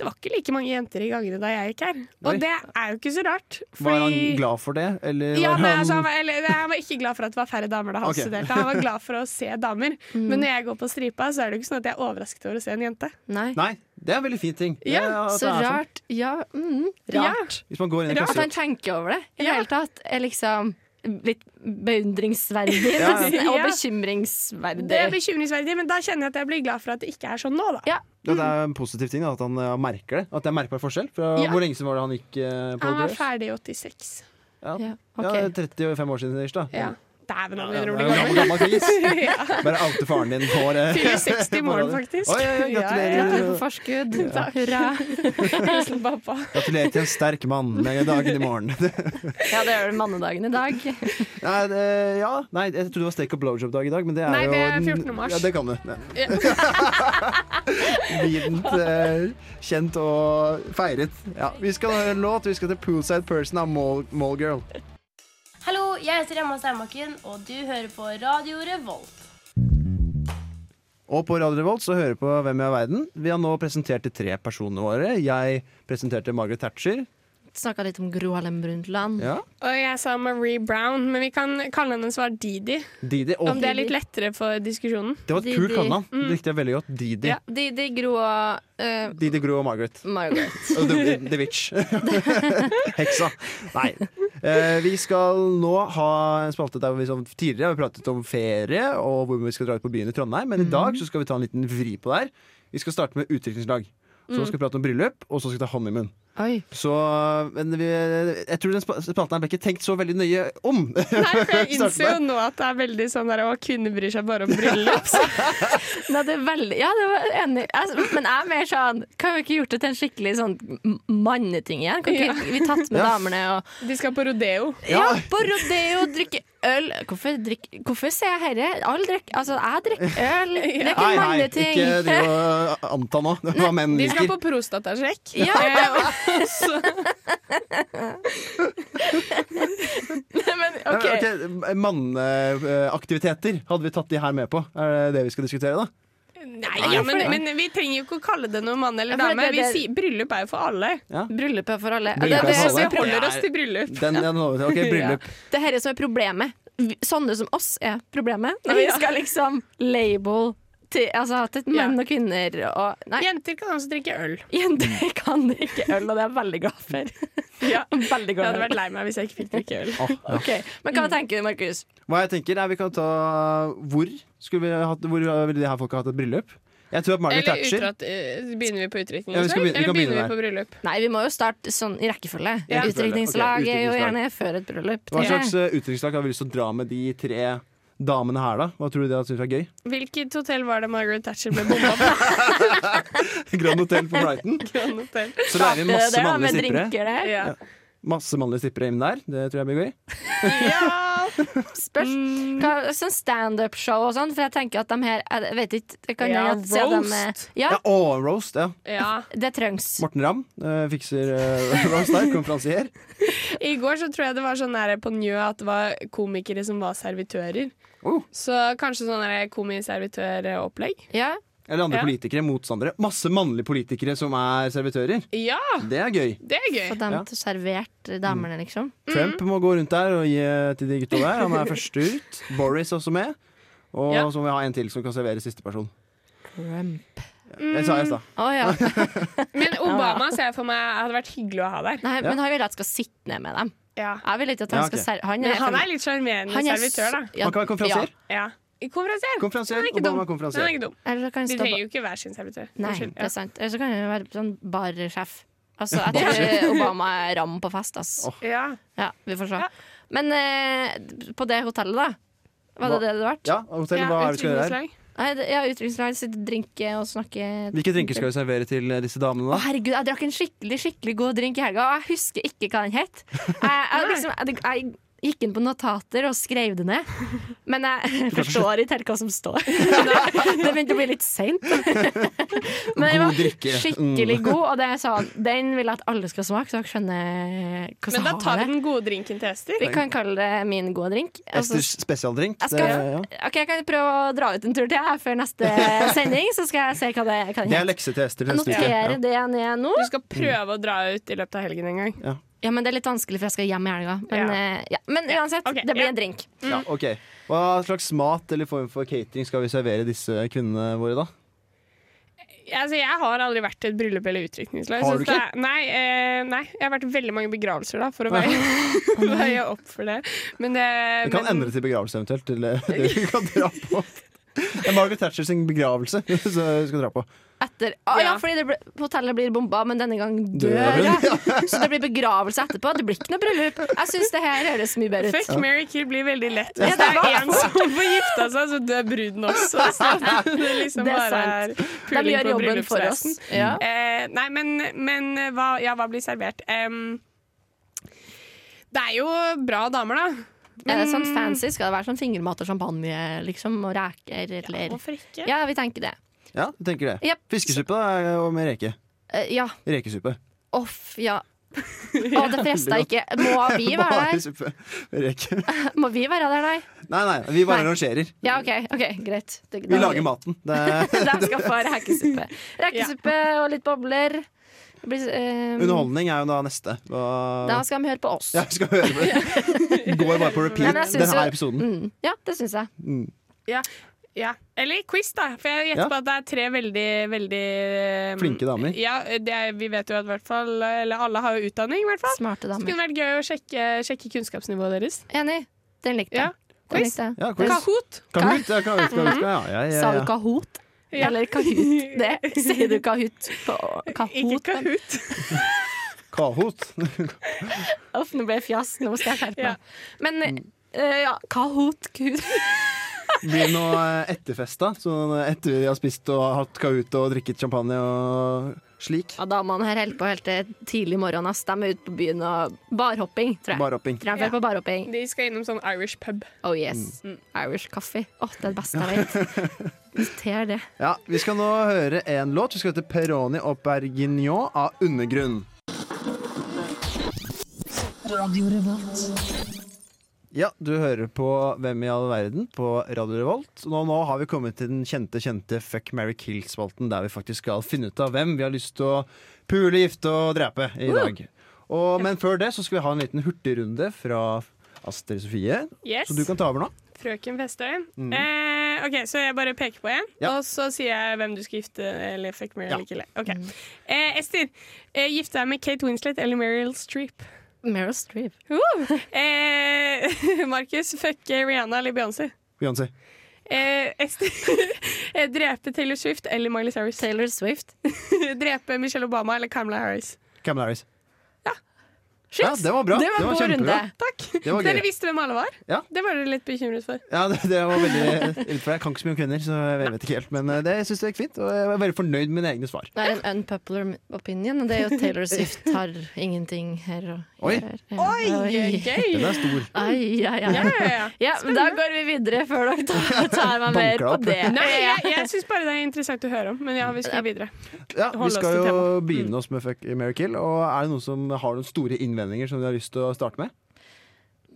det var ikke like mange jenter i gangene da jeg gikk her. Og Oi. det er jo ikke så rart. Var han glad for det, eller Ja, var nei, han altså, han, var, eller, nei, han var ikke glad for at det var færre damer da han Ok. studerte. Han var glad for å se damer. Men når jeg går på stripa, så er det jo ikke sånn at jeg er overrasket over å se en jente. Nei. Nei, det er en veldig fin ting. Det Ja, er at det Så er sånn. rart. Ja, mm, Ja. rart. Hvis man går inn i Rart At han klasserommet tenker over det i det Ja. hele tatt, er liksom litt beundringsverdig nesten, og Ja. Det er bekymringsverdig. bekymringsverdig, men da kjenner jeg at jeg blir glad for at det ikke er sånn nå, da. Ja. ja, Det er en positiv ting da, at han eh, merker det. At det er merkbar forskjell. Fra Ja. Hvor lenge siden var det han gikk eh, på Han var Grøs? ferdig i 86. Ja. Ja, Ja, ok. 35 år siden. ish, da. Ja. Dæven, han Ja, begynner å det er jo bli gammel, gammel. gammel *laughs* kis. Ja. Bare oute faren din for eh, Fyller 60 i morgen, for- faktisk. Oi, oi, oi, Ja, Du er på gratulerer. forskudd. Takk. Hurra. Hilsen pappa. gratulerer til en sterk mann med dagen i *laughs* morgen. Ja, det gjør du mannedagen i dag. *laughs* Nei, det, ja. Nei, jeg trodde det var steak og blowjob-dag i dag, men det er Nei, jo det er 14. mars. Ja, det kan du. Nei. *laughs* Ja. Vident, eh, kjent og feiret. Ja, vi skal høre en låt. Vi skal til Poolside Person av Mall- Mallgirl. Hallo, jeg heter Emma Steinbakken, og du hører på Radio Revolt. Og på Radio Revolt så hører vi på Hvem er verden. Vi har nå presentert de tre personene våre. Jeg presenterte Margaret Thatcher. Snakka litt om Gro Harlem Brundtland. Ja. Og jeg sa Marie Brown, men vi kan kalle henne svar Didi. Didi. Å, Om det er litt lettere for diskusjonen. det var et kult Didi. kallenavn. Det likte jeg veldig godt. Didi. Ja. De, de Gro og eh, Didi Gro og Margaret. Margaret. Og The, the *laughs* Witch. Heksa. Nei. Eh, vi skal nå ha en spalte der vi som tidligere har pratet om ferie og hvor vi skal dra ut på byen i Trondheim, men Mm. i dag så skal vi Mm. ta en liten vri på det her. Vi skal starte med utdrikningslag. Så skal vi prate om bryllup, og så skal vi ta honeymoon. Oi. Så, men vi, jeg tror den spa- spalten her ble ikke tenkt så veldig nøye om. Nei, for jeg Vi *laughs* starter innser jo nå at det er veldig sånn der å kvinner bryr seg bare om bryllup. Nei, det er veldig Ja, det var enig. Altså, men jeg er mer sånn Kan vi ikke gjort det til en skikkelig sånn m- manneting igjen? Kan ikke vi tatt med Ja. damene og De skal på rodeo. Ja, på rodeo, drikke øl Hvorfor, drikk, hvorfor ser jeg herre? Alle drikker Altså, jeg drikker øl. *laughs* Det er ikke Nei, en nei, manneting. ikke driv og anta *laughs* nå hva menn De skal liker. på prostatasjekk. *laughs* Ja. Eh, og *laughs* *laughs* så- men, ok. Ja, ok, Manneaktiviteter hadde vi tatt de her med på. Er det det vi skal diskutere, da? Nei, ja, men, men vi trenger jo ikke å kalle det noe mann eller Ja, for dame. det- Vi det- sier, bryllup er jo for alle. Bryllup er for alle. Bryllup er det, for Så det, alle. vi holder oss til bryllup. Den, den, holder *laughs* vi til. ok, bryllup. det er dette som er problemet. Vi- Sånne som oss er problemet. Når vi skal liksom label til, altså, til menn og kvinner og Nei, Jenter kan også drikke øl. jenter kan drikke øl, og det er jeg veldig glad for. Ja. Veldig Jeg glad hadde for. vært lei meg hvis jeg ikke fikk drikke øl. Ok, Men hva tenker du, Markus? Hva jeg tenker er Vi kan ta hvor skulle vi hatt, Hvor ville de her folka hatt et bryllup? Jeg tror at Margaret Eller Thatcher utratt, eh, begynner vi på utdrikning? Ja, vi skal begynne- vi eller kan begynne der. begynner vi på bryllup? Nei, vi må jo starte sånn i rekkefølge. Ja. Utdrikningslag Ok, er jo utdrikningslag. gjerne før et bryllup. Hva tenker jeg. slags eh, utdrikningslag har vi lyst til å dra med de tre damene her, da? Hva tror du de hadde syntes var gøy? *laughs* Hvilket hotell var det Margaret Thatcher ble bomba *laughs* på? Grand Hotel på Brighton. Grand Hotel. Så lærer vi Det masse der, da, med mannlige strippere. drinker der. Ja. Masse mannlige strippere inn der. Det tror jeg blir gøy. ja. Spørs. Hva, sånn standup-show og sånn, for jeg tenker at de her Jeg vet ikke. Det kan Ja, hende at se dem eh, roast. Ja, Ja, og roast. ja *laughs* Ja. det trengs. Morten Ramm eh, fikser eh, *laughs* roast der. Konferansier. I går så tror jeg det var sånn der på Njø at det var komikere som var servitører. Oh. Så kanskje sånn der komiservitøropplegg. Ja. Eller andre Ja. politikere. Motstandere. Masse mannlige politikere som er servitører. Ja, Det er gøy. det er Få gøy. dem Ja. Mm. til servert damene, liksom. Trump må gå rundt der og gi eh, til de gutta der. Han er først ut. Boris er også med. Og Ja. så må vi ha en til som kan servere siste person. Crump. Det sa jeg i stad. Å ja. *laughs* Men Obama ser jeg for meg hadde vært hyggelig å ha der. Nei, men han vil at jeg skal sitte ned med dem. Ja. Jeg vil ikke at han Ja, ok. skal serve Han Men er, han er litt sjarmerende han er servitør, da. så- ja, Han kan være konferansier. ja. Ja. Konferansier. Konferansier, Den er ikke Obama dum. er konferansier. Den er ikke dum. Eller så kan han De stå trenger på jo ikke hver sin servitør. Nei, Unnskyld. det er Ja. sant. Eller så kan han være sånn barsjef. Altså, jeg tror Obama er ram på fest, ass. Åh. Ja. Ja, vi får se. Ja. Men eh, på det hotellet, da. Var det Hva- det det ble? Ja, hotell, Ja, hva er det vi skal gjøre her? utdrikningslag. Nei, det- Ja, utdrikningslag, sitte og drinke og snakke Hvilke drinker skal vi servere til eh, disse damene, da? Å, herregud, jeg drakk en skikkelig skikkelig god drink i helga, og jeg husker ikke hva den het. Jeg, jeg, liksom, jeg, jeg gikk inn på notater og skrev det ned, men jeg forstår ikke helt hva som står. *laughs* Det begynte å bli litt seint. *laughs* Men den God drikke. Mm. var skikkelig god, og det er sånn, den vil jeg at alle skal smake, så dere skjønner hva Men som da tar har vi det. den gode drinken til Ester. Vi kan kalle det min gode drink. Og så- Esters spesialdrink. jeg, Det, skal, ja. ok, jeg kan prøve å dra ut en tur til jeg, før neste *laughs* sending, så skal jeg se hva det, hva det det er heter. lekse til Ester. til Jeg neste uke. noterer det ned nå. Du Mm. skal prøve å dra ut i løpet av helgen en gang. Ja, men Det er litt vanskelig, for jeg skal hjem i helga. Men, Ja. eh, ja. men uansett, ok, det blir ja. en drink. Ja. Ja, ok. Hva slags mat eller form for catering skal vi servere disse kvinnene våre, da? Altså, jeg har aldri vært til et bryllup eller utrykningslag. Har du ikke? Nei, eh, nei, jeg har vært i veldig mange begravelser da, for å veie, *laughs* veie opp for det. Men det, Vi kan men, endre til begravelse eventuelt. Til *laughs* eh, det vi kan dra på. Det er Margaret Thatcher sin begravelse *laughs* så vi skal dra på. Etter, ah, ja. Ja. fordi det ble, Hotellet blir bomba, men denne gang Døren, døra. *laughs* Så det blir begravelse etterpå. Det blir ikke noe bryllup. Jeg syns det her høres mye bedre ut. Fuck, marry, kill blir veldig lett. Ja, Hvis det det er var- altså- én som får gifta seg, så dør bruden *laughs* også. Så det liksom Det er bare er sant. De puling gjør på jobben for oss. bryllupsreisen. Ja. Eh, nei, men, men hva, ja, hva blir servert? Em, det er jo bra damer, da. Er det sånn fancy? Skal det være sånn fingermat og champagne liksom, og reker? Eller? Hvorfor ikke? Ja, vi tenker det. Ja, du tenker det. Jep. Fiskesuppe da, og med reke. Eh, ja. Rekesuppe. Off, ja. *laughs* Å, det fresta ikke. Må vi være *laughs* Bare der? suppe. Reke. Må vi være der, nei? Nei, nei, vi bare Nei. rangerer. Ja, OK, ok, greit. Det- Vi da- lager maten. Det *laughs* er De skal få rekesuppe. Rekesuppe og litt bobler. Det blir, eh, underholdning er jo da neste. Da Og... skal de høre på oss. Ja, vi skal høre på det. *laughs* Går bare på Nei, repeat men jeg synes denne jo- episoden. Mm, ja, det syns jeg. Ja. ja. Eller quiz, da. For jeg gjetter Ja. på at det er tre veldig, veldig eh, Flinke damer. Mm. Ja, det er, vi vet jo at hvert fall Eller alle har jo utdanning, i hvert fall. Smarte Så damer. kunne det vært gøy å sjekke, sjekke kunnskapsnivået deres. Enig. Den likte Ja. jeg. Den Quiz. likte jeg. Ja, quiz. Kahoot! Kahoot, ja, kahoot, kahoot, ja, ja, ja, Sa du ja. Kahoot? Ja. *laughs* Eller Kahoot? Det sier du Kahoot på Ikke Kahoot. men- Kahoot. Kahoot. Uff, nå ble jeg fjas. Nå skal jeg skjerpe Ja. meg. Men Mm. eh, ja, Kahoot Gud. *laughs* Blir nå eh, etterfesta. Sånn etter vi har spist og hatt kahoot og drikket champagne og slik. Ja, damene her holder på helt til tidlig morgen. Ass. De er ute på byen og barhopping, tror jeg. Barhopping. Tror jeg de drar på barhopping. De skal innom sånn Irish pub. Oh yes. Mm. Irish coffee. Åh, det er det beste jeg *laughs* vet. Noter det. Ja, vi skal nå høre en låt. Vi skal hete Peroni og Bergignon av Undergrunn. Ja, du hører på Hvem i all verden på Radio Revolt. Og nå, nå har vi kommet til den kjente, kjente Fuck Mary Kill-spalten, der vi faktisk skal finne ut av hvem vi har lyst til å pule, gifte og drepe Uh. i dag. Og, men før det så skal vi ha en liten hurtigrunde fra Astrid Sofie, Yes. så du kan ta over nå. Frøken Festøy. Eh, OK, så jeg bare peker på en, Ja. og så sier jeg hvem du skal gifte eller fuck Mary Ja. eller ikke. Ok. Eh, Ester, eh, gifte deg med Kate Winslet eller Meryl Streep? Meryl Streep. Woo! Eh, *laughs* Markus, fuck Rihanna eller Beyoncé? Beyoncé. Eh, Ester, *laughs* eh, drepe Taylor Swift eller Miley Cyrus? *laughs* Taylor Swift. drepe Michelle Obama eller Kamala Harris? Cameron Harris. *laughs* Shit. Ja, det var bra. Det var, Det var god runde. kjempebra. Takk! Det var Dere gøy. visste hvem alle var? Ja. Det var dere litt bekymret for. Ja, det, det var veldig ille for Jeg kan ikke så mye om kvinner, så jeg vet ikke helt. Men eh, det jeg synes det gikk fint, og jeg var veldig fornøyd med mine egne svar. Det er en unpopular opinion, og det er jo at Taylor Swift har ingenting her å Oi. gjøre. Ja. Oi. gøy! Den er stor. Ai, ai, Ja, ai. ja, ja. Ja, men da går vi videre før dere *laughs* tar, tar meg mer Banker på opp. det. Nei, Ja. jeg, jeg syns bare det er interessant å høre om, men ja, vi skal videre. Ja, Hold vi oss skal til jo begynne oss med Fuck Mary Kill. Og er det noen som har noen store innvendinger som de har lyst til å starte med?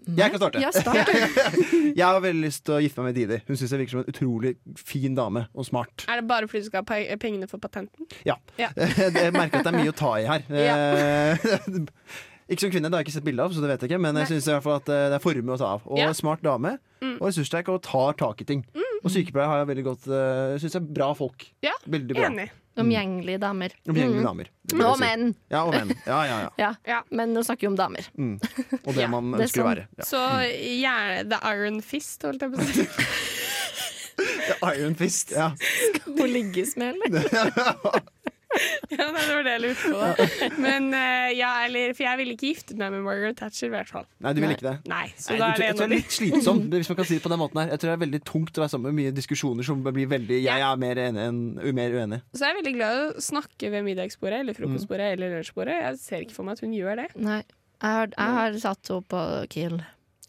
Jeg kan starte. Ja, start. *laughs* Jeg har veldig lyst til å gifte meg med Didi. Hun syns jeg virker som en utrolig fin dame og smart. Er det bare fordi du skal ha pe- pengene for patenten? Ja. Ja. Jeg merker at *laughs* det er mye å ta *laughs* i her. Eh, *laughs* Ikke som kvinne, det har jeg ikke sett bilde av, så det vet jeg ikke. Men jeg synes i hvert fall at eh, det er formue å ta av. Og Ja. Mm. smart dame, og ressurssterk og tar tak i ting. Og sykepleier har jeg veldig godt eh, Syns jeg er bra folk. Ja, Veldig bra. Enig. Mm. Omgjengelige damer. Omgjengelige damer. det vil jeg Og si. menn. Ja, og menn. Ja, ja, ja. Ja. Ja. Men nå snakker vi om damer. Mm. Og *laughs* det man det er ønsker å sant. være. Ja. Så gjerne The Iron Fist, holdt jeg på å si. *laughs* Iron Fist. Ja. Hun ligges med, eller? *laughs* Ja, nei, det var det jeg lurte på. Men eh, ja, eller For jeg ville ikke giftet meg med Margaret Thatcher, i hvert fall. Nei, du vil ikke det. Nei, så Nei, da jeg, er tror, det jeg en tror det av er de. litt *laughs* slitsomt, hvis man kan si det på den måten her. Jeg tror det er veldig tungt å være sammen med mye diskusjoner som blir veldig Jeg er mer enig enn mer uenig. *laughs* Så jeg er veldig glad i å snakke ved middagsbordet eller frokostbordet eller lunsjbordet. Jeg ser ikke for meg at hun gjør det. Nei. Jeg har, jeg har satt henne på kill.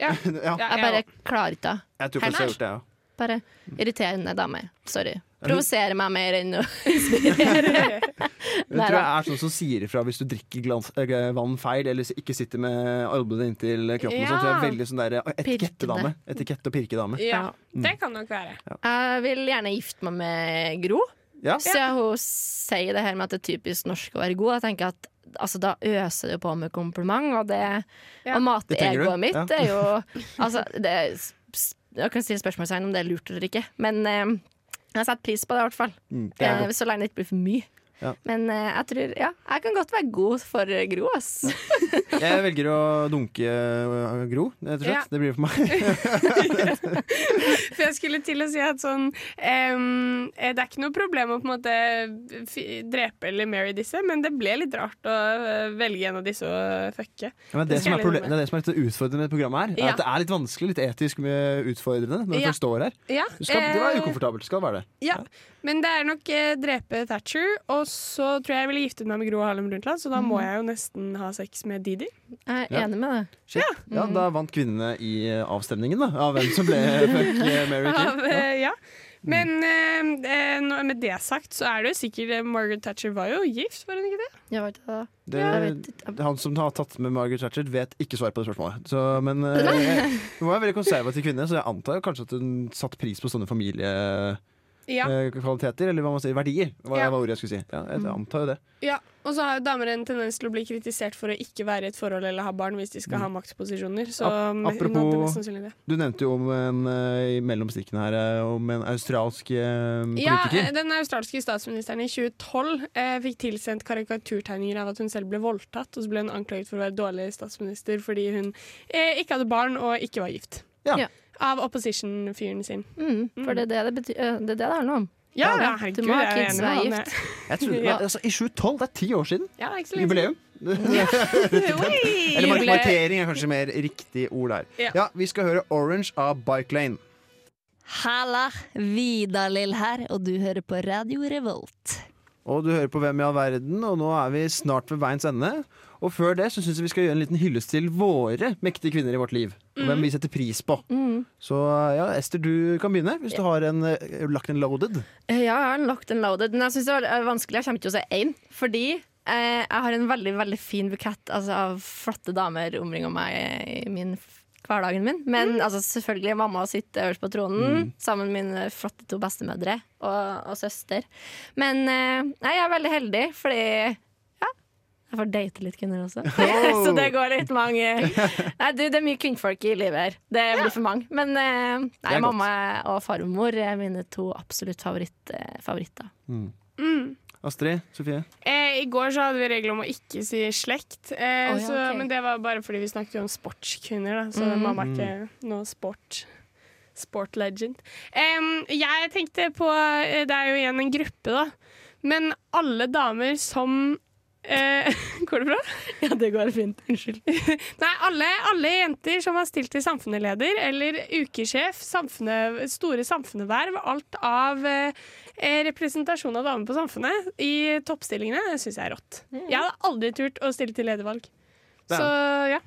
Ja, Ja, ja, Jeg bare klarer ikke det. jeg tror kanskje jeg har gjort det, ja. Bare irriterende dame. Sorry. Provoserer meg mer enn å inspirere. Jeg tror jeg er sånn som sier ifra hvis du drikker glans, eh, vann feil, eller ikke sitter med albuene inntil kroppen. og sånt. Så jeg er Ja. veldig sånn der eh, etikettedame. Etikett- og pirkedame. ja, det kan nok være. Jeg vil gjerne gifte meg med Gro. Ja. Så hun sier det her med at det er typisk norsk å være god. Jeg tenker at altså, Da øser det jo på med kompliment, og det Ja. å mate Det trenger du, egoet mitt ja. det er jo *laughs* altså, det, er s- s- Jeg kan stille spørsmålstegn om det er lurt eller ikke, men eh, jeg setter pris på det i hvert fall. Mm, det er Eh, godt. så lenge det ikke blir for mye. Ja. Men eh, jeg tror Ja, jeg kan godt være god for eh, Gro, ass. Jeg velger å dunke eh, Gro, rett og Ja. slett. Det blir det for meg. *laughs* For jeg skulle til å si at sånn em, eh, Det er ikke noe problem å på en måte eh, fi- drepe eller marry disse, men det ble litt rart å eh, velge en av disse og fucke. Ja, men det, Det som skal er jeg leve problemet, det er det som er litt sånn utfordrende med dette programmet, her er Ja. at det er litt vanskelig, litt etisk mye utfordrende, når du Ja. først står her. Ja, Du skal, det var eh, ukomfortabelt. Skal det være det. ja. Men det er nok eh, drepe Thatcher, og så tror jeg jeg ville giftet meg med Gro Harlem Brundtland, så da må jeg jo nesten ha sex med Didi. Jeg er Ja. enig med det. Shit. Ja, da vant kvinnene i eh, avstemningen, da. Av hvem som ble *laughs* fuck eh, Mary Av, Kill. eh, ja. Mm. Men eh, eh, nå- med det sagt, så er det jo sikkert eh, Margaret Thatcher var jo gift, var hun ikke det? Jeg var ikke det. Det, Jeg vet ikke. han som har tatt med Margaret Thatcher, vet ikke svar på det spørsmålet. Så, men eh, hun var en veldig konservativ kvinne, så jeg antar kanskje at hun satte pris på sånne familiekvaliteter. Ja. Eller hva man sier, verdier, var, Ja. Mm. var ordet jeg skulle si. Ja, jeg antar jo det. Ja, og så har jo damer en tendens til å bli kritisert for å ikke være i et forhold eller ha barn hvis de skal ha maktposisjoner. Så Ap- hun hadde apropos- mest sannsynlig det. Du nevnte jo om en, eh, i mellom stikkene her eh, om en australsk eh, Ja, politiker. Den australske statsministeren i 2012 eh, fikk tilsendt karikaturtegninger av at hun selv ble voldtatt, og så ble hun anklaget for å være dårlig statsminister fordi hun eh, ikke hadde barn og ikke var gift. Ja. Ja. Av opposition-fyren sin. Mm, for det er det det, betyr, det, er det det handler om. Ja, Ja, ja, du herregud, må ha jeg er kids enig som er med han. gift. Jeg trodde, Ja. altså, I 2012, det er ti år siden. Ja, ikke så lenge *laughs* Jubileum. Eller Jubileum. mark markering er kanskje mer riktig ord der. Ja. Ja, Vi skal høre Orange av Bike Lane. Halla, Vidar-Lill her, og du hører på Radio Revolt. Og du hører på Hvem i all verden, og nå er vi snart ved veiens ende. Og før det så syns jeg vi skal gjøre en liten hyllest til våre mektige kvinner i vårt liv. Og hvem vi setter pris på. Så eh, ja, Ester, du kan begynne hvis du har en, eh, lagt en loaded. Eh, Ja, jeg har en locked and loaded, men jeg synes det var vanskelig. Jeg kommer ikke til å si én, fordi eh, jeg har en veldig veldig fin bukett altså, av flotte damer omringa meg eh, i min f- hverdagen min. Men altså, selvfølgelig, mamma sitter øverst på tronen sammen med mine flotte to bestemødre og, og søster. Men eh, nei, jeg er veldig heldig, fordi ja, jeg får date litt kvinner *laughs* også. Så det går litt mange Nei, du, det er mye kvinnfolk i livet her. Det blir for mange. Men eh, Det nei, er godt. mamma og farmor er mine to absolutt favoritt, eh, favoritter. Astrid, Sofie. Eh, I går så hadde vi regler om å ikke si slekt, eh, Å, ja, så, ok. Mm. men det var bare fordi vi snakket jo om sportskvinner, da, så mamma er ikke noe sport. Sport legend. Em, jeg tenkte på eh, Det er jo igjen en gruppe, da. Men alle damer som eh, *laughs* Går det bra? *laughs* Ja, det går fint. Unnskyld. Nei, alle, alle jenter som har stilt til samfunnsleder eller ukesjef, samfunnet, store samfunnsverv, alt av eh, eh, representasjon av damer på samfunnet i toppstillingene, det syns jeg er rått. Jeg hadde aldri turt å stille til ledervalg. Det er- Så ja,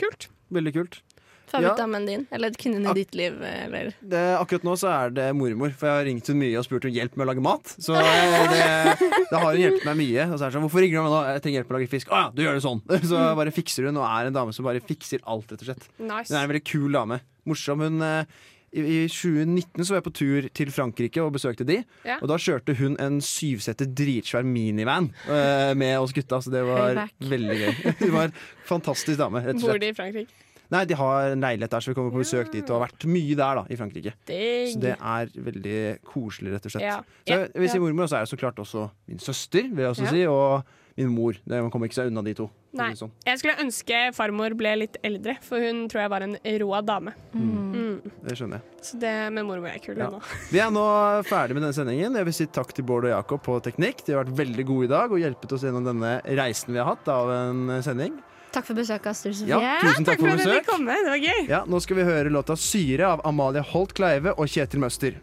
kult. Veldig kult. Favorittdamen din? Eller kvinnen i ditt liv? eh, Eller? Det, akkurat nå så er det mormor, for jeg har ringt hun mye og spurt om hjelp med å lage mat. Så eh, det, det har hun hjulpet meg mye. Og så er det sånn, hvorfor ringer du meg nå? Jeg trenger hjelp med å lage fisk. Å ja, du gjør det sånn! *laughs* Så bare fikser hun, og er en dame som bare fikser alt, rett og slett. Hun Nice. er en veldig kul dame. Morsom. Hun, eh, i, I 2019 så var jeg på tur til Frankrike og besøkte de. Ja. Og da kjørte hun en syvsetter dritsvær minivan eh, med oss gutta, så det var Payback. veldig gøy. *laughs* Hun var en fantastisk dame, rett og Bor slett. de i Frankrike? Nei, de har en leilighet der, så vi kommer på besøk dit, og har vært mye der da, i Frankrike. Så Digg. det er veldig koselig, rett og slett. Ja. Så jeg vil si mormor, og så er det så klart også min søster, vil jeg også Ja. si, og min mor. Det, man kommer ikke seg unna de to. for å Nei. si det Sånn. Jeg skulle ønske farmor ble litt eldre, for hun tror jeg var en rå dame. Det skjønner jeg. Så det med mormor er kul Ja. ennå. Vi er nå ferdig med denne sendingen. Jeg vil si takk til Bård og Jakob på Teknikk. De har vært veldig gode i dag og hjulpet oss gjennom denne reisen vi har hatt av en eh, sending. Takk for besøket, Astrid Sofie. Ja, tusen takk Takk for *laughs* for at jeg fikk besøk. komme, det var gøy. Ja, nå skal vi høre låta 'Syre' av Amalie Holt Kleive og Kjetil Møster.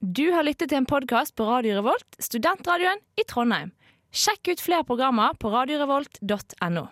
Du har lyttet til en podkast på Radio Revolt, studentradioen i Trondheim. Sjekk ut flere programmer på radiorevolt.no.